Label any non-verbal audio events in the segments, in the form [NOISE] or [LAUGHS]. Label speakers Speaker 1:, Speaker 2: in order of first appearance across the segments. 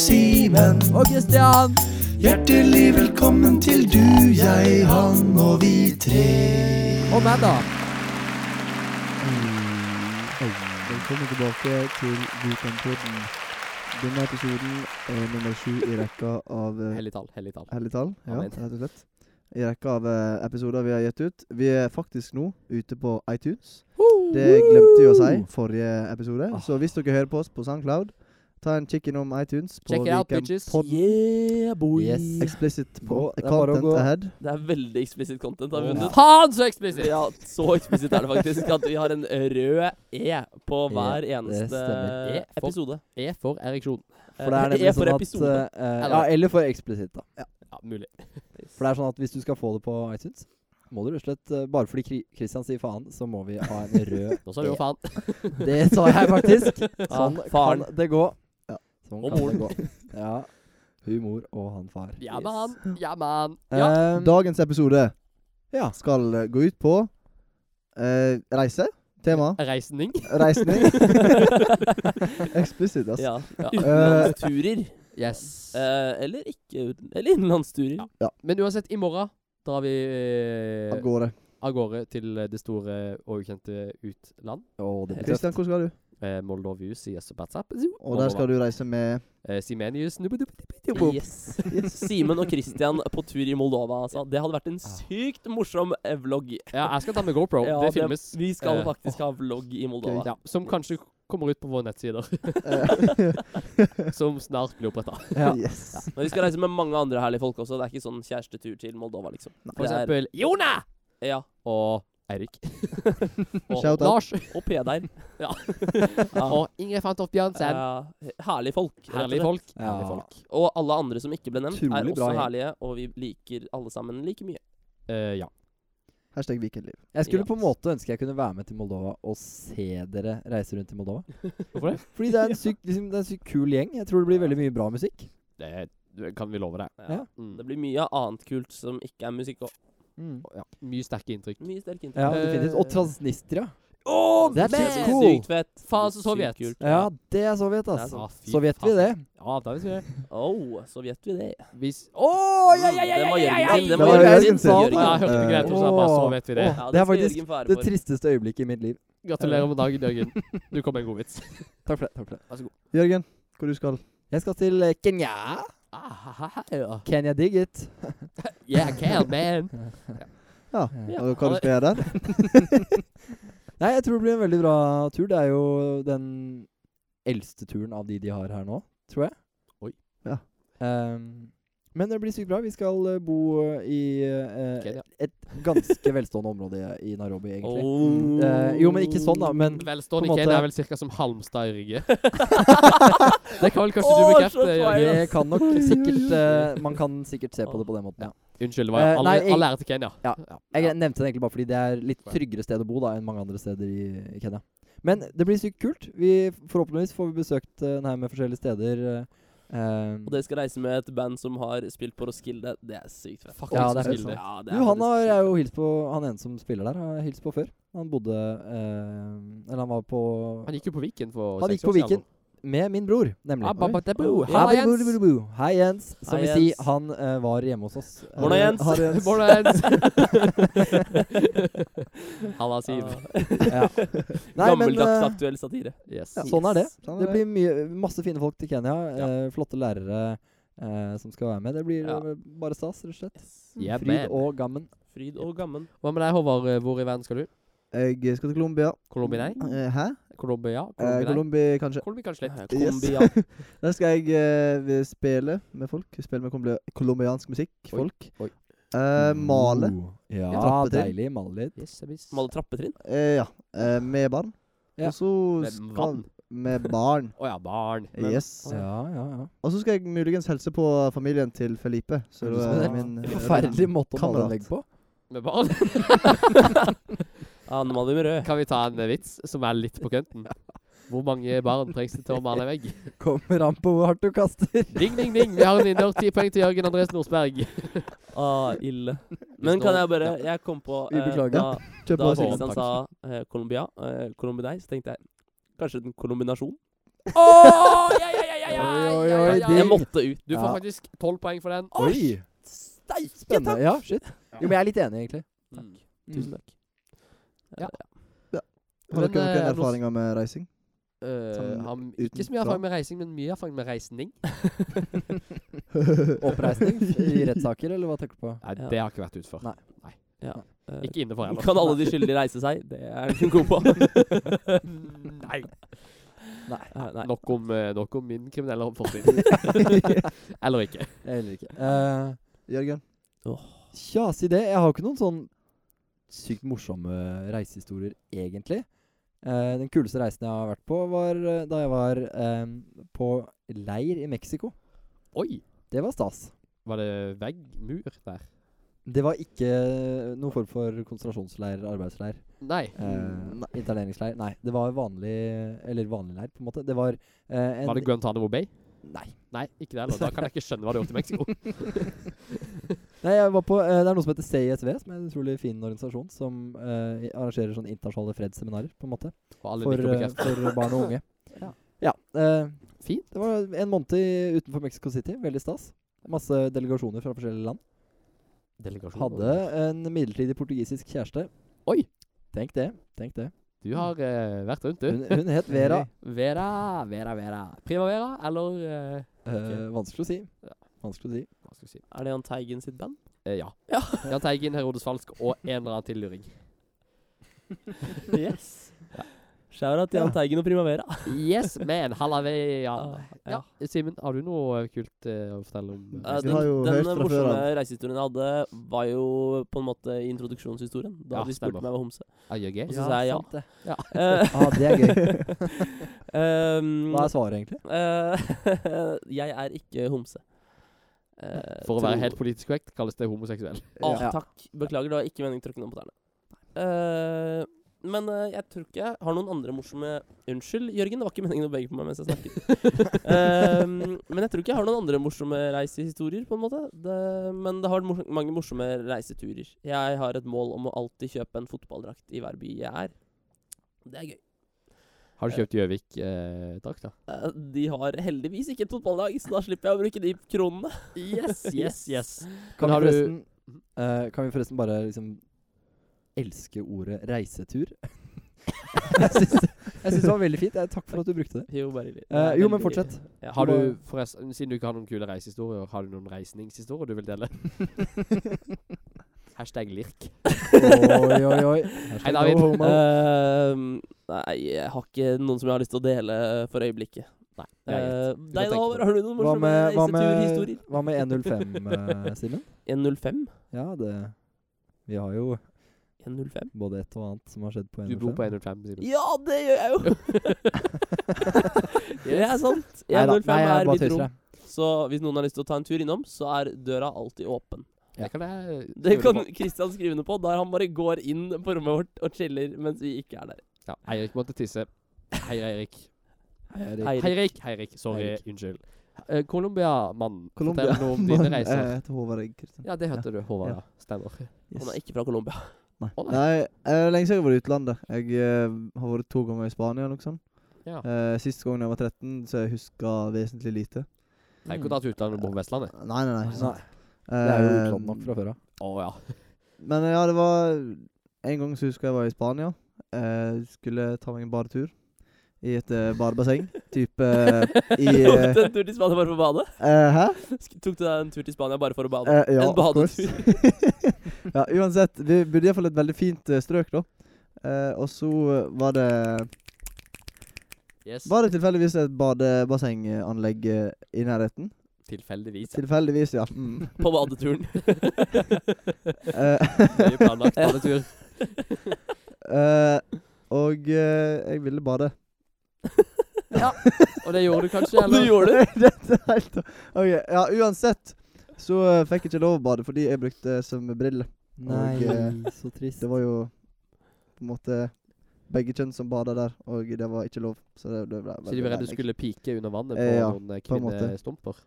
Speaker 1: Simen.
Speaker 2: Og Kristian.
Speaker 1: Hjertelig velkommen til du, jeg, han og vi tre.
Speaker 2: Og meg, da. Velkommen tilbake til Bukampodden. Denne episoden er nummer sju i rekka av eh,
Speaker 3: Hellig tall, hellig tall.
Speaker 2: Hellig tall, ja,
Speaker 3: Amen.
Speaker 2: rett og slett. I rekka av eh, episoder vi har gitt ut. Vi er faktisk nå ute på iTunes. Det glemte vi å si forrige episode.
Speaker 3: Ah.
Speaker 2: Så hvis dere hører på oss på SoundCloud, ta en kikk innom iTunes. På
Speaker 3: Check it out,
Speaker 2: Viken
Speaker 3: bitches.
Speaker 2: Pod
Speaker 3: Yeah, boy. Yes.
Speaker 2: Explicit på
Speaker 4: Bra, det er bare å
Speaker 2: content
Speaker 4: gå.
Speaker 2: ahead.
Speaker 3: Det er veldig explicit content har vi
Speaker 4: Ja.
Speaker 3: vunnet.
Speaker 1: Faen, så eksplisitt!
Speaker 3: Ja, så explicit er det faktisk at vi har en rød E på hver eneste
Speaker 4: stemmer.
Speaker 3: E for- episode.
Speaker 1: E for ereksjon.
Speaker 4: For det er nemlig
Speaker 3: E for
Speaker 4: sånn at
Speaker 3: episode.
Speaker 4: eh, eh,
Speaker 3: Eller-
Speaker 4: Ja, eller for eksplisitt, da.
Speaker 3: Ja, mulig.
Speaker 4: For det er sånn at hvis du skal få det på iTunes, må du rett og slett eh, Bare fordi Kri- Christian sier faen, så må vi ha en rød
Speaker 1: Nå sa vi jo
Speaker 4: E.
Speaker 1: faen.
Speaker 4: Det sa jeg faktisk. Sånn
Speaker 3: faren.
Speaker 4: kan det gå.
Speaker 2: Ja.
Speaker 4: Sånn
Speaker 3: Og
Speaker 4: kan det gå. Ja. Hun mor og han far.
Speaker 1: Ja,
Speaker 3: Yes. Eh.
Speaker 1: man. Ja, man. Ja.
Speaker 3: Um,
Speaker 4: Ehm,
Speaker 2: Dagens episode
Speaker 4: Ja.
Speaker 2: skal eh, gå ut på eh, reise. Tema
Speaker 1: Reisning.
Speaker 2: reisning. Explicit,
Speaker 3: [LAUGHS]
Speaker 2: ass.
Speaker 3: Ja. ja.
Speaker 2: Eh.
Speaker 3: Utenlandsturer.
Speaker 1: Yes.
Speaker 3: Eh, eller ikke uten, Eller innenlandsturer.
Speaker 1: Men uansett, i morgen drar vi eh,
Speaker 2: Av gårde.
Speaker 1: av gårde til eh, det store og ukjente utland.
Speaker 4: å, det blir tøft.
Speaker 2: Kristian, hvor skal du?
Speaker 1: Eh, Moldovius i Østepatsa.
Speaker 2: Og der skal du reise med
Speaker 1: Eh, Simenius
Speaker 3: Yes. Simen og Christian på tur i Moldova, altså. Det hadde vært en sykt morsom eh, vlogg.
Speaker 1: Ja, jeg skal ta med GoPro.
Speaker 3: Ja,
Speaker 1: det filmes.
Speaker 3: Vi skal
Speaker 1: Eh,
Speaker 3: faktisk ha vlogg i Moldova.
Speaker 1: ja, som kanskje kommer ut på våre nettsider.
Speaker 2: eh,
Speaker 1: som snart blir oppretta.
Speaker 4: Ja.
Speaker 2: Yes.
Speaker 3: Men vi skal reise med mange andre herlige folk også. Det er ikke sånn kjærestetur til Moldova, liksom.
Speaker 1: For
Speaker 3: Det er-
Speaker 1: eksempel Jona
Speaker 3: Ja.
Speaker 1: og Eirik. og
Speaker 2: Shout out.
Speaker 1: Lars.
Speaker 3: Og
Speaker 4: [LAUGHS]
Speaker 3: Peder. Ja.
Speaker 1: Og Ingrid Fantoff Bjørnsen.
Speaker 3: Ja, herlige folk. rett og
Speaker 1: Herlige
Speaker 3: slett.
Speaker 1: folk.
Speaker 4: Ja.
Speaker 1: Herlige folk.
Speaker 3: Og alle andre som ikke ble nevnt,
Speaker 4: Utrolig
Speaker 3: er også
Speaker 4: bra gjeng.
Speaker 3: herlige, og vi liker alle sammen like mye.
Speaker 1: Eh, ja.
Speaker 2: Hashtag Vikenliv.
Speaker 4: Jeg skulle
Speaker 3: Ja.
Speaker 4: på en måte ønske jeg kunne være med til Moldova og se dere reise rundt i Moldova.
Speaker 1: Hvorfor det?
Speaker 4: Fordi det er en sykt liksom, det er en sykt kul gjeng. Jeg tror det blir veldig mye bra musikk.
Speaker 1: Det det kan vi love deg.
Speaker 3: Ja.
Speaker 1: Mm.
Speaker 3: Det blir mye annet kult som ikke er musikk, og
Speaker 1: Ja. Mye sterke inntrykk.
Speaker 3: mye sterk inntrykk.
Speaker 4: Ja, definitivt. Og Transnistria.
Speaker 1: Oh,
Speaker 4: Det er
Speaker 3: Men-
Speaker 4: sykt cool.
Speaker 3: Sykt fett.
Speaker 1: Faen, så Sovjet.
Speaker 3: Sykt kult.
Speaker 4: Ja, det er Sovjet, ass.
Speaker 3: Det er
Speaker 4: Så vet vi det.
Speaker 1: Ja, da vet vi det.
Speaker 3: Oh, Sovjet vi det.
Speaker 1: Hvis Å, ja, ja, ja,
Speaker 3: Det var
Speaker 1: ja, ja,
Speaker 3: Jørgen sin.
Speaker 1: ja,
Speaker 3: Det
Speaker 1: ja!
Speaker 3: var
Speaker 4: Det var
Speaker 3: Jørgen
Speaker 4: Jørgen
Speaker 3: sin.
Speaker 4: sin.
Speaker 3: Jørgen.
Speaker 1: Ja, jeg hørte ikke det. Jeg trodde jeg bare så vet vi det.
Speaker 4: Åh,
Speaker 3: Ja,
Speaker 4: det
Speaker 3: skal
Speaker 4: er faktisk
Speaker 3: Jørgen få ære
Speaker 4: det
Speaker 3: for.
Speaker 4: tristeste øyeblikket i mitt liv.
Speaker 1: Gratulerer med dagen, Jørgen. Du kom med en god vits.
Speaker 4: Takk for det. takk for det
Speaker 2: Jørgen, hvor du skal
Speaker 4: Jeg skal til eh, Kenya.
Speaker 1: Ah,
Speaker 4: Kenya dig it.
Speaker 1: [LAUGHS] yeah, I can, man.
Speaker 2: Ja.
Speaker 1: Ja.
Speaker 2: Og hva du skal gjøre der?
Speaker 4: Nei, jeg tror det blir en veldig bra tur. Det er jo den eldste turen av de de har her nå, tror jeg.
Speaker 1: Oi.
Speaker 2: Ja.
Speaker 4: Ehm, men det blir sykt bra. Vi skal eh, bo eh, i eh,
Speaker 1: Kenya.
Speaker 4: et ganske velstående område i Nairobi, egentlig.
Speaker 3: Oh.
Speaker 4: Eh, jo, men ikke sånn,
Speaker 1: [LAUGHS]
Speaker 4: da. Men
Speaker 1: Velstående
Speaker 4: På en
Speaker 1: i Kenya er vel
Speaker 4: måte-
Speaker 1: ca. som Halmstad i Rygge. det kan vel kanskje du
Speaker 3: Åh,
Speaker 1: bekrefte,
Speaker 3: så feil.
Speaker 1: Jørgen.
Speaker 4: det kan nok sikkert eh, Man kan sikkert se på det på den måten, ja.
Speaker 1: Unnskyld, det var
Speaker 4: Eh,
Speaker 1: all,
Speaker 4: nei, jeg-
Speaker 1: all ære til Kenya.
Speaker 4: Ja. Jeg nevnte den egentlig bare fordi det er litt tryggere sted å bo da enn mange andre steder i, i Kenya. Men det blir sykt kult. Vi, forhåpentligvis får vi besøkt eh, den her med forskjellige steder. eh, eh,
Speaker 3: Og dere skal reise med et band som har spilt på Roskilde. Det er sykt fett.
Speaker 1: Fuck,
Speaker 4: Ja,
Speaker 1: han som
Speaker 4: det er
Speaker 1: spiller.
Speaker 2: sant.
Speaker 3: Ja, det
Speaker 4: du, han
Speaker 3: faktisk
Speaker 4: har
Speaker 3: sykt [LAUGHS]
Speaker 4: jeg
Speaker 3: fett.
Speaker 4: jo hilst på Han ene som spiller der, har jeg hilst på før. Han bodde eh, Eller han var på
Speaker 1: Han gikk jo på Viken for
Speaker 4: Han
Speaker 1: seks
Speaker 4: gikk på
Speaker 1: år siden,
Speaker 4: Viken med min bror, nemlig.
Speaker 3: Ah,
Speaker 1: altså. Abba,
Speaker 2: Oi.
Speaker 1: ba, da, bo.
Speaker 3: Abba,
Speaker 1: Halla,
Speaker 4: Hei,
Speaker 1: Jens.
Speaker 4: bu- bu- bu- bu. Hei, Jens. Som
Speaker 3: Hei,
Speaker 4: vi sier,
Speaker 3: Jens.
Speaker 4: han eh, var hjemme hos oss.
Speaker 3: Morna,
Speaker 4: Eh,
Speaker 3: Jens.
Speaker 4: har-
Speaker 3: [LAUGHS]
Speaker 1: [LAUGHS] Morgen, Jens. Halla, Siv.
Speaker 3: Ah.
Speaker 4: ja. Nei, men,
Speaker 3: Gammeldags
Speaker 4: eh,
Speaker 3: aktuell satire.
Speaker 1: Yes.
Speaker 4: Ja, sånn er det.
Speaker 2: Sånn
Speaker 4: Det
Speaker 2: er det.
Speaker 4: blir mye, masse fine folk til Kenya.
Speaker 1: Ja.
Speaker 4: Eh, flotte lærere eh, som skal være med. Det blir
Speaker 3: Ja.
Speaker 4: eh, bare stas, rett og slett.
Speaker 1: Yeah,
Speaker 4: Fryd
Speaker 1: man.
Speaker 4: og gammen.
Speaker 3: Fryd og gammen.
Speaker 1: Hva med deg, Håvard? Eh, Hvor i verden skal du?
Speaker 2: Jeg skal til Colombia.
Speaker 1: Colombia, nei?
Speaker 2: Eh, Hæ?
Speaker 1: Colombia?
Speaker 2: Eh,
Speaker 1: Colombia, nei?
Speaker 2: Colombia, kanskje.
Speaker 1: Colombia kanskje litt.
Speaker 2: Yes.
Speaker 3: Kombi, ja.
Speaker 4: [LAUGHS]
Speaker 2: Der skal jeg eh, vi spille med folk. Spille med kolombia- colombiansk musikk.
Speaker 1: Oi,
Speaker 2: Folk.
Speaker 1: oi.
Speaker 2: Eh, male.
Speaker 4: Uh, ja,
Speaker 2: Trappe til.
Speaker 4: deilig. Male litt.
Speaker 1: Yes, jeg visst.
Speaker 3: Male trappetrinn.
Speaker 2: Eh, ja. Eh, med barn.
Speaker 4: Ja.
Speaker 2: Og så
Speaker 1: Med
Speaker 2: skal-
Speaker 1: vann?
Speaker 2: Med
Speaker 1: [LAUGHS]
Speaker 2: barn.
Speaker 1: Å ja, barn.
Speaker 3: Men-
Speaker 2: yes.
Speaker 4: Ja, ja, ja.
Speaker 2: Og så skal jeg muligens helse på familien til Felipe. Så
Speaker 4: Høres ut
Speaker 2: det
Speaker 4: som
Speaker 2: er
Speaker 4: en
Speaker 1: [LAUGHS]
Speaker 2: min
Speaker 4: Forferdelig måte å male
Speaker 2: Kamerat.
Speaker 4: anlegg på.
Speaker 1: Med barn. [LAUGHS]
Speaker 3: Ja, Ah, nå maler vi med rød.
Speaker 1: Kan vi ta en eh, vits som er litt på
Speaker 4: [LAUGHS]
Speaker 1: kønten? Hvor mange barn trengs det til å male en vegg?
Speaker 4: Kommer an på hvor hardt du kaster.
Speaker 1: Ding, ding, ding! Vi har en inner. Ti poeng til Jørgen Andrés Norsberg.
Speaker 3: Ah, ille. Men kan jeg bare Jeg kom på
Speaker 4: Vi
Speaker 3: eh,
Speaker 4: beklager.
Speaker 3: da,
Speaker 2: Kjøp
Speaker 3: da
Speaker 2: oss.
Speaker 1: Håvard.
Speaker 3: Kristian sa eh, Colombia, eh, Colombia Day, så tenkte jeg kanskje en kolombinasjon?
Speaker 1: [LAUGHS] Åh, ja, ja, ja, ja, ja,
Speaker 4: Oi, oi,
Speaker 1: ja, ja,
Speaker 4: oi,
Speaker 1: ja,
Speaker 4: det-
Speaker 3: Jeg
Speaker 1: ja.
Speaker 3: måtte ut.
Speaker 1: Du får
Speaker 4: Ja.
Speaker 1: faktisk tolv poeng for den.
Speaker 4: Oi!
Speaker 3: Steike,
Speaker 4: Spennende. Ja, shit. Jo, men jeg er litt enig, egentlig.
Speaker 3: Takk.
Speaker 4: Mm.
Speaker 3: Tusen takk.
Speaker 2: Har dere
Speaker 1: Men, eh,
Speaker 2: noen
Speaker 1: er det noe-
Speaker 2: erfaringer med reising?
Speaker 1: Øh,
Speaker 2: Sånn
Speaker 1: har m- ikke så mye
Speaker 2: utenfra.
Speaker 1: erfaring med reising, men mye erfaring med reisning.
Speaker 4: Oppreisning i rettssaker, eller hva tenker du på?
Speaker 1: Nei,
Speaker 3: Ja.
Speaker 1: det har ikke vært utfor.
Speaker 4: Nei.
Speaker 3: Eh,
Speaker 1: Ikke innenfor heller.
Speaker 3: Kan alle de skyldige reise seg? Det er hun god på.
Speaker 1: Nei.
Speaker 3: Eh, Nei. [LAUGHS]
Speaker 1: Nok om, eh, nok om min kriminelle
Speaker 4: [LAUGHS]
Speaker 1: fortid. Eller ikke.
Speaker 4: Jeg heller ikke. Eh,
Speaker 2: Jørgen?
Speaker 4: Tja, si det. Jeg har jo ikke noen sånn sykt morsomme reisehistorier, egentlig. Eh, den kuleste reisen jeg har vært på, var eh, da jeg var eh, på leir i Mexico.
Speaker 1: Oi!
Speaker 4: Det var stas.
Speaker 1: Var det vegg? Mur der?
Speaker 4: Det var ikke noen form for konsentrasjonsleir, arbeidsleir,
Speaker 1: Mm, Nei.
Speaker 4: eh, interneringsleir. Nei, det var vanlig Eller vanlig leir, på en måte. Det var eh, en
Speaker 1: Var det Guantánamo Bay?
Speaker 4: Nei.
Speaker 1: Nei, ikke det heller. Da kan jeg ikke skjønne hva du har gjort i
Speaker 4: [LAUGHS]
Speaker 1: Mexico.
Speaker 4: Nei, jeg var på, eh, Det er noe som heter CISV, som er en utrolig fin organisasjon som eh, arrangerer sånne internasjonale fredsseminarer, på en måte.
Speaker 1: Og alle
Speaker 4: For,
Speaker 1: nikker
Speaker 4: eh,
Speaker 1: bekreftet.
Speaker 4: for
Speaker 1: [LAUGHS]
Speaker 4: barn og unge.
Speaker 1: Ja.
Speaker 4: ja eh,
Speaker 1: Fint.
Speaker 4: Det var en måned i- utenfor Mexico City. Veldig stas. Masse delegasjoner fra forskjellige land.
Speaker 1: Delegasjon.
Speaker 4: Hadde en midlertidig portugisisk kjæreste.
Speaker 1: Oh. Oi!
Speaker 4: Tenk det. tenk
Speaker 1: [LAUGHS]
Speaker 4: det
Speaker 1: Du har eh, vært rundt, du.
Speaker 4: Hun, hun het Vera.
Speaker 1: Vera, Vera, Vera. Primavera eller eh,
Speaker 4: Eh, vanskelig å si. Vanskelig å si.
Speaker 1: Hva skal vi si?
Speaker 3: Er det Jahn Teigen sitt band?
Speaker 1: Eh, ja.
Speaker 3: Ja.
Speaker 1: Jahn Teigen, Herodes Falsk og en eller annen tilluring.
Speaker 3: Yes. Shout-out til Jahn
Speaker 4: Ja.
Speaker 3: Teigen og Primavera. Eh,
Speaker 1: Yes, man. Halleveia.
Speaker 3: Ja.
Speaker 1: Ja. Simen, har du noe kult eh, å fortelle om?
Speaker 3: Eh,
Speaker 2: Vi
Speaker 3: Den,
Speaker 2: har jo
Speaker 3: den
Speaker 2: hørt fra før
Speaker 3: morsomme
Speaker 2: av.
Speaker 3: reisehistorien jeg hadde, var jo på en måte i introduksjonshistorien. Da
Speaker 1: Ja,
Speaker 3: de spurte
Speaker 1: stemmer.
Speaker 3: meg om homse.
Speaker 1: Ajage?
Speaker 3: Og så sa jeg ja.
Speaker 4: sant
Speaker 1: [LAUGHS]
Speaker 4: det.
Speaker 3: Eh,
Speaker 4: Ah, det er gøy.
Speaker 3: [LAUGHS] ehm,
Speaker 4: Hva er svaret, egentlig?
Speaker 3: eh, [LAUGHS] jeg er ikke homse. Eh,
Speaker 1: For å
Speaker 3: tro-
Speaker 1: være helt politisk korrekt kalles det homoseksuell.
Speaker 3: Å,
Speaker 4: Ja.
Speaker 3: takk. Beklager, det var ikke meningen å tråkke noen på tærne. Eh, men eh, jeg tror ikke jeg har noen andre morsomme Unnskyld, Jørgen, det var ikke meningen å begge på meg mens jeg snakket.
Speaker 1: [LAUGHS]
Speaker 3: Ehm, men jeg tror ikke jeg har noen andre morsomme reisehistorier, på en måte. Det, men det har vært mors mange morsomme reiseturer. Jeg har et mål om å alltid kjøpe en fotballdrakt i hver by jeg er. Det er gøy.
Speaker 1: Har du kjøpt Gjøvik-drakt, da?
Speaker 3: Eh, de har heldigvis ikke et fotballag, så da slipper jeg å bruke de kronene.
Speaker 1: [LAUGHS] Yes,
Speaker 3: yes,
Speaker 4: Kan
Speaker 1: har
Speaker 4: vi
Speaker 1: du- Mhm.
Speaker 4: forresten, eh, kan vi forresten bare liksom elske ordet
Speaker 1: [LAUGHS]
Speaker 4: reisetur? [LAUGHS] jeg syns jeg syns det var veldig fint. Eh, Takk for at du brukte det.
Speaker 3: Jo, bare litt.
Speaker 4: Eh, jo, men
Speaker 3: [LAUGHS]
Speaker 4: fortsett.
Speaker 3: Ja.
Speaker 1: Har du, forresten, Siden du ikke har noen kule reisehistorier, har du noen reisningshistorier du vil
Speaker 3: [LAUGHS]
Speaker 1: dele? Hashtag lirk.
Speaker 4: Oi, oi, oi.
Speaker 1: Hei, David.
Speaker 4: Eh,
Speaker 3: Ehm, nei, jeg har ikke noen som jeg har lyst til å dele for øyeblikket. Nei,
Speaker 1: det er greit. Du kan
Speaker 3: Deg
Speaker 1: tenke
Speaker 3: da,
Speaker 1: på
Speaker 3: Håvard, har du noen
Speaker 4: Hva
Speaker 3: morsomme
Speaker 4: med, hva med,
Speaker 3: reiseturhistorier?
Speaker 4: hva med 105,
Speaker 1: [LAUGHS]
Speaker 4: eh, Simen?
Speaker 3: 105?
Speaker 4: Ja, det Vi har jo
Speaker 3: 105?
Speaker 4: både et og annet som har skjedd på 105.
Speaker 1: Du bor på 105, Simen.
Speaker 3: Eh, Ja, det gjør jeg jo! [LAUGHS] det er sant. 105
Speaker 4: Neida, nei, jeg
Speaker 3: er
Speaker 4: bare
Speaker 3: mitt
Speaker 4: tuser,
Speaker 3: rom.
Speaker 4: jeg.
Speaker 3: Så hvis noen har lyst til å ta en tur innom, så er døra alltid åpen.
Speaker 1: Det kan eh, jeg
Speaker 3: Det
Speaker 1: skrive
Speaker 3: kan
Speaker 1: på.
Speaker 3: Kristian skrive under på, der han bare går inn på rommet vårt og chiller mens vi ikke er der.
Speaker 1: Ja, Eirik måtte tisse. Hei, Eirik.
Speaker 4: Eirik.
Speaker 3: Eirik.
Speaker 1: Eirik. Eirik. Sorry.
Speaker 4: Eirik.
Speaker 1: Unnskyld. Eh, Colombia-mann,
Speaker 2: Colombia.
Speaker 1: fortell noe om dine reiser.
Speaker 2: [LAUGHS] Jeg heter Håvard Egg Kristian.
Speaker 1: Ja, det hørte du, Håvard.
Speaker 2: Ja.
Speaker 1: Ja. Stemmer.
Speaker 3: Han er ikke fra Colombia.
Speaker 2: Nei.
Speaker 1: Å, nei.
Speaker 2: Nei, jeg er lenge siden jeg har vært i utlandet. Jeg eh, har vært to ganger i Spania. Noe sånt.
Speaker 1: Ja.
Speaker 2: Eh, sist gangen jeg var 13, så jeg huska vesentlig lite.
Speaker 1: Tenk å ta til utlandet og bo på Vestlandet.
Speaker 2: Nei, nei, nei. ikke sant.
Speaker 4: Nei, det er jo
Speaker 2: Eh,
Speaker 4: utlandet nok fra før av.
Speaker 1: Å ja.
Speaker 2: Men ja, det var En gang så husker jeg jeg var i Spania. Eh, skulle ta meg en badetur i et eh,
Speaker 4: [LAUGHS]
Speaker 2: badebasseng. Type i
Speaker 3: [LAUGHS] Tok
Speaker 2: eh,
Speaker 3: du en tur til Spania bare for å bade?
Speaker 2: eh, Hæ?
Speaker 3: Tok du deg en tur til Spania bare for å bade?
Speaker 2: Eh, ja,
Speaker 3: en
Speaker 2: of course.
Speaker 3: badetur.
Speaker 2: ja, uansett. Vi bodde iallfall et veldig fint eh, strøk, da. Eh, og så var det
Speaker 1: [LAUGHS] Yes.
Speaker 2: Var det tilfeldigvis et badebassenganlegg eh, i nærheten.
Speaker 1: Tilfeldigvis.
Speaker 2: Tilfeldigvis, ja.
Speaker 1: [LAUGHS]
Speaker 2: Mm.
Speaker 3: På badeturen.
Speaker 2: Eh,
Speaker 1: Nøye planlagt badetur.
Speaker 2: [LAUGHS] eh, og eh, jeg ville bade.
Speaker 1: Og det gjorde du
Speaker 3: [LAUGHS]
Speaker 1: kanskje, eller?
Speaker 2: gjorde [LAUGHS] det? Dette er helt Ok, ja, uansett så eh, fikk jeg ikke lov å bade fordi jeg brukte svømmebriller.
Speaker 4: Nei, eh, så trist.
Speaker 2: Det var jo på en måte begge kjønn som bada der, og det var ikke lov. Så det, det ble
Speaker 1: Så de var redd du
Speaker 2: veldig
Speaker 1: skulle pike under vannet på
Speaker 2: Eh, ja,
Speaker 1: noen eh,
Speaker 2: på en måte.
Speaker 1: kvinnestumper?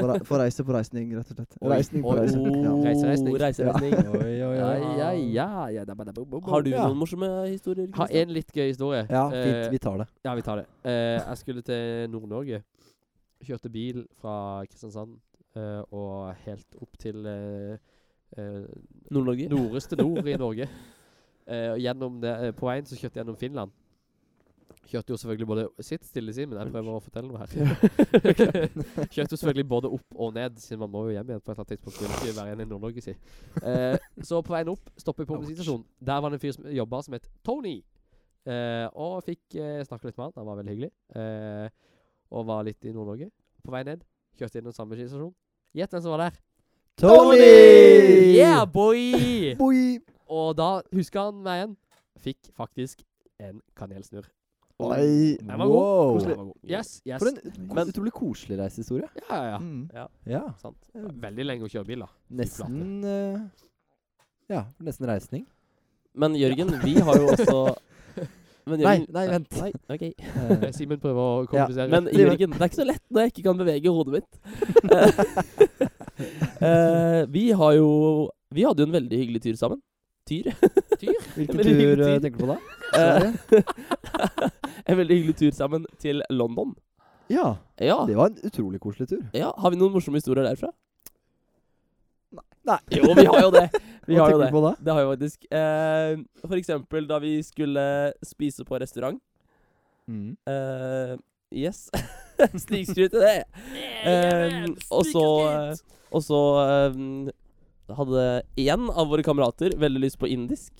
Speaker 2: På, rei på reise på reisning, rett og slett.
Speaker 1: Oi.
Speaker 2: Reisning på
Speaker 1: Oi.
Speaker 2: reisning.
Speaker 1: [LAUGHS]
Speaker 2: Ja.
Speaker 1: Reise, reisning.
Speaker 3: Oh, reise, reisning.
Speaker 4: Oi, oi,
Speaker 1: Ja,
Speaker 4: oi.
Speaker 1: ja, ja, ja. da, ba, da, bo, bo, bo.
Speaker 3: Har du
Speaker 4: Ja.
Speaker 3: noen morsomme historier?
Speaker 1: Har
Speaker 3: Kristian?
Speaker 1: en litt gøy historie.
Speaker 4: Ja,
Speaker 1: Eh,
Speaker 4: fint. Vi tar det.
Speaker 1: Ja, vi tar det. Eh, jeg skulle til Nord-Norge. Kjørte bil fra Kristiansand eh, og helt opp til eh, eh,
Speaker 3: Nord-Norge?
Speaker 1: nordeste nord i Norge. Eh, og gjennom det, eh, på veien så kjørte jeg gjennom Finland. Kjørte jo selvfølgelig både Sitt stille, Simen. Jeg prøver å fortelle noe her. kjørte jo selvfølgelig både opp og ned, siden man må jo hjem igjen på et eller annet tidspunkt. Vil ikke være igjen i Nord-Norge, si. Eh, så på veien opp stopper jeg på bensinstasjonen. Der var det en fyr som jobba som het Tony. Eh, og fikk eh, snakka litt med han. Han var veldig hyggelig. Eh, og var litt i Nord-Norge. På vei ned kjørte innom samme bensinstasjon. Gjett hvem som var der?
Speaker 4: Tony!
Speaker 1: Yeah, [LAUGHS] boy!
Speaker 4: Boy!
Speaker 1: Og da huska han meg igjen. Fikk faktisk en kanelsnurr. Og
Speaker 2: Oi.
Speaker 1: Den var god.
Speaker 4: Wow.
Speaker 1: Koselig. Den var god. Yes, yes.
Speaker 4: For en ut-
Speaker 1: Men-
Speaker 4: utrolig koselig reisehistorie.
Speaker 1: Ja, ja, ja.
Speaker 2: Mm.
Speaker 4: Ja.
Speaker 1: Sant. Veldig lenge å kjøre [LAUGHS] bil, da.
Speaker 4: Nesten eh, Ja, nesten
Speaker 1: [LAUGHS]
Speaker 4: reisning.
Speaker 3: Men Jørgen, vi har jo også Men Jørgen,
Speaker 4: Nei, nei, vent.
Speaker 3: Nei, ok.
Speaker 4: Eh,
Speaker 1: Simen prøver å
Speaker 4: Ja,
Speaker 1: komplisere.
Speaker 3: Men
Speaker 4: Simen.
Speaker 3: Jørgen, det er ikke så lett når jeg ikke kan bevege hodet mitt. [LAUGHS] Eh, vi har jo Vi hadde jo en veldig hyggelig tur sammen. Tyr?
Speaker 4: Hvilken
Speaker 3: Men hvilken
Speaker 4: tur eh,
Speaker 3: tur?
Speaker 4: tenker du på da?
Speaker 3: Eh, en veldig hyggelig tur sammen til London.
Speaker 4: Ja,
Speaker 3: Ja,
Speaker 4: det var en utrolig koselig tur.
Speaker 3: ja Har vi noen morsomme historier derfra?
Speaker 4: Nei.
Speaker 3: Jo, vi har jo det. Vi
Speaker 4: Hva
Speaker 3: har jo
Speaker 4: tenker
Speaker 3: det.
Speaker 4: du på da?
Speaker 3: [LAUGHS] Det har vi faktisk. Eh, for eksempel da vi skulle spise på restaurant.
Speaker 4: Mm.
Speaker 3: Eh, yes. [LAUGHS] Snikskryt er det. Eh, og så, eh, og så eh, hadde én av våre kamerater veldig lyst på indisk.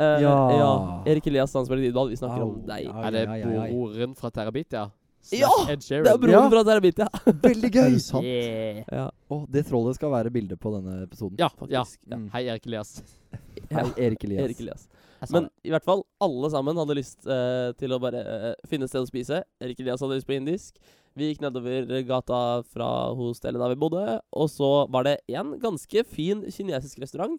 Speaker 3: Eh,
Speaker 4: Ja.
Speaker 3: Erik Elias Sandsberg Didal, vi snakker om
Speaker 4: Au,
Speaker 3: deg.
Speaker 4: au,
Speaker 1: er det
Speaker 4: ai, ai, ai.
Speaker 1: broren fra Terabit, ja?
Speaker 3: Ja!
Speaker 1: Slash Ed Sheeran.
Speaker 3: Det er broren
Speaker 4: Ja.
Speaker 3: fra Terabit, ja.
Speaker 4: Veldig
Speaker 2: Er
Speaker 4: gøy!
Speaker 2: det sant?
Speaker 1: Yeah.
Speaker 3: ja.
Speaker 4: Og det trollet skal være bildet på denne episoden.
Speaker 1: Ja, ja.
Speaker 3: Faktisk. Ja.
Speaker 4: Mm.
Speaker 1: Hei, Erik Elias.
Speaker 4: Hei, Erik Elias.
Speaker 3: Erik Elias. Men i hvert fall, alle sammen hadde lyst eh, til å bare eh, finne et sted å spise. Erik Elias hadde lyst på indisk. Vi gikk nedover gata fra hostellet der vi bodde, og så var det en ganske fin kinesisk restaurant.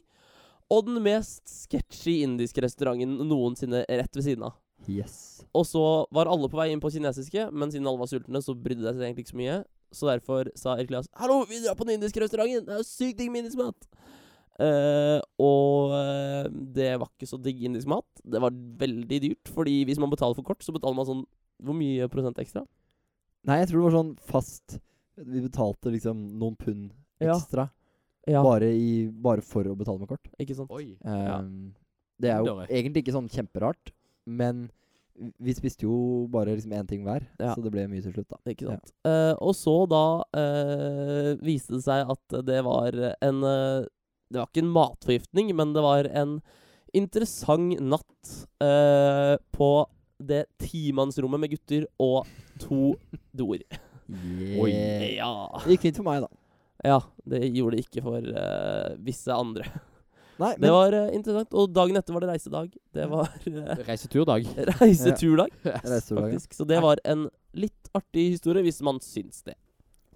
Speaker 3: Og den mest sketchy indiske restauranten noensinne rett ved siden av.
Speaker 4: Yes.
Speaker 3: Og så var alle på vei inn på kinesiske, men siden alle var sultne, så brydde de seg egentlig ikke så mye. Så derfor sa Erik Elias Hallo, vi drar på den indiske restauranten! Det er jo sykt digg med indisk mat! Eh, og eh, det var ikke så digg indisk mat. Det var veldig dyrt, fordi hvis man betaler for kort, så betaler man sånn Hvor mye prosent ekstra?
Speaker 4: Nei, jeg tror det var sånn fast Vi betalte liksom noen pund
Speaker 3: Ja.
Speaker 4: ekstra
Speaker 3: Ja,
Speaker 4: bare, i, bare for å betale med kort.
Speaker 3: ikke sant?
Speaker 1: Oi. Ja.
Speaker 4: Ehm, Det er jo
Speaker 1: Dårlig.
Speaker 4: egentlig ikke sånn kjemperart, men vi spiste jo bare liksom én ting hver,
Speaker 3: Ja.
Speaker 4: så det ble mye til slutt, da.
Speaker 3: Ikke sant. Eh, og så da eh, viste det seg at det var en eh, Det var ikke en matforgiftning, men det var en interessant natt eh, på det timannsrommet med gutter og to [LAUGHS] doer.
Speaker 4: Yeah.
Speaker 3: Ja.
Speaker 4: Det gikk fint for meg, da.
Speaker 3: ja. Det gjorde det ikke for eh, visse andre.
Speaker 4: Nei, men
Speaker 3: Det var eh, interessant. Og dagen etter var det reisedag. Det var eh,
Speaker 1: [LAUGHS]
Speaker 3: [LAUGHS]
Speaker 1: [LAUGHS] Reiseturdag.
Speaker 3: reiseturdag,
Speaker 4: reisedagen
Speaker 3: faktisk. Så det var en litt artig historie, hvis man syns det.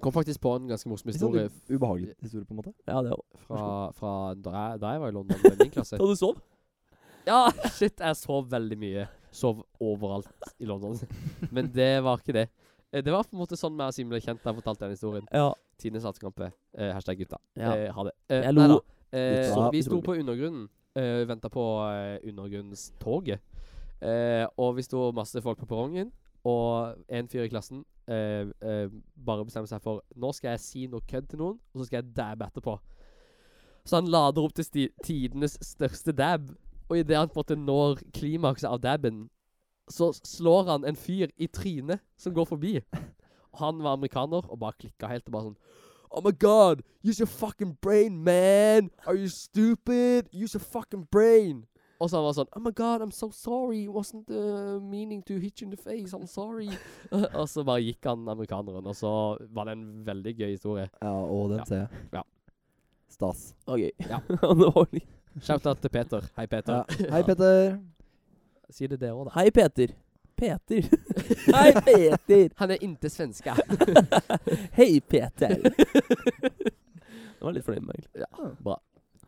Speaker 1: Kom faktisk på en ganske morsom
Speaker 4: Litt sånn
Speaker 1: historie
Speaker 4: u- ubehagelig historie, på en måte.
Speaker 3: Ja, det òg.
Speaker 1: fra, fra da, jeg, da jeg var i London med min klasse.
Speaker 3: Og du sov?
Speaker 1: Ja, [LAUGHS] shit, jeg sov veldig mye. Sov overalt i London. Men det var ikke det. Eh, Det var på en måte sånn meg og Simen ble kjent da jeg fortalte den historien.
Speaker 3: Ja.
Speaker 1: Tines landskampe. Eh, hashtag gutta.
Speaker 3: Ja.
Speaker 1: Eh, ha det. Eh,
Speaker 3: Jeg lo.
Speaker 1: nei da. Eh,
Speaker 4: Gutta,
Speaker 1: vi sto
Speaker 4: utrolig.
Speaker 1: på undergrunnen. Eh, Venta på eh, undergrunnstoget. Eh, og vi sto masse folk på perrongen. Og en fyr i klassen eh, eh, bare bestemmer seg for Nå skal jeg si noe kødd til noen, og så skal jeg dabbe etterpå. Så han lader opp til sti tidenes største dab. Og idet han på en måte når klimakset av dabben, så slår han en fyr i trynet som går
Speaker 3: [LAUGHS]
Speaker 1: forbi. Han var amerikaner og bare klikka helt og bare sånn Oh my god, use your fucking brain, man! Are you stupid? Use your fucking brain! Og så han var sånn Oh my god, I'm so sorry. It wasn't uh, meaning to hit you in the face. I'm sorry. [LAUGHS] og så bare gikk han amerikaneren, og så var det en veldig gøy historie.
Speaker 4: Ja, og den
Speaker 1: Ja.
Speaker 4: ser jeg.
Speaker 1: Ja.
Speaker 4: Stas.
Speaker 3: Det var gøy.
Speaker 1: Ja.
Speaker 3: [LAUGHS] Og det var litt-
Speaker 1: Shout-out til Peter. Hei, Peter.
Speaker 4: Ja. Hei, Petter.
Speaker 1: Si det det òg, da.
Speaker 3: Hei, Peter. Peter. [LAUGHS] Hei, [LAUGHS] Peter.
Speaker 1: Han er inte svenske.
Speaker 3: [LAUGHS] Hei, Peter. Jeg var litt fornøyd med meg.
Speaker 1: Bra.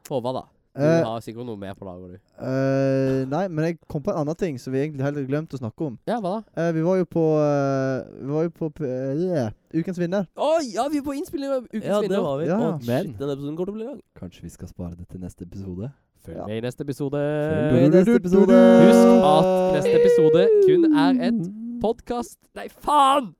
Speaker 1: Håvard, da. Du
Speaker 2: Eh,
Speaker 1: har sikkert noe mer på lager, du.
Speaker 2: eh, nei, men jeg kom på en annen ting som vi egentlig helt glemte å snakke om.
Speaker 1: Ja, hva da?
Speaker 2: Eh, vi var jo på eh, Vi var jo på p- eh, Ukens vinner.
Speaker 1: Å ja, vi er på innspilling av Ukens
Speaker 3: Ja, det
Speaker 1: vinner.
Speaker 3: var vi.
Speaker 2: Ja.
Speaker 3: Å, shit,
Speaker 4: Men-
Speaker 3: den episoden kommer til å bli lang.
Speaker 4: Kanskje vi skal spare det til neste episode?
Speaker 1: Følg
Speaker 2: Ja.
Speaker 1: med i neste episode.
Speaker 4: Følg med i neste episode.
Speaker 1: Husk at neste episode kun er et podkast Nei, faen!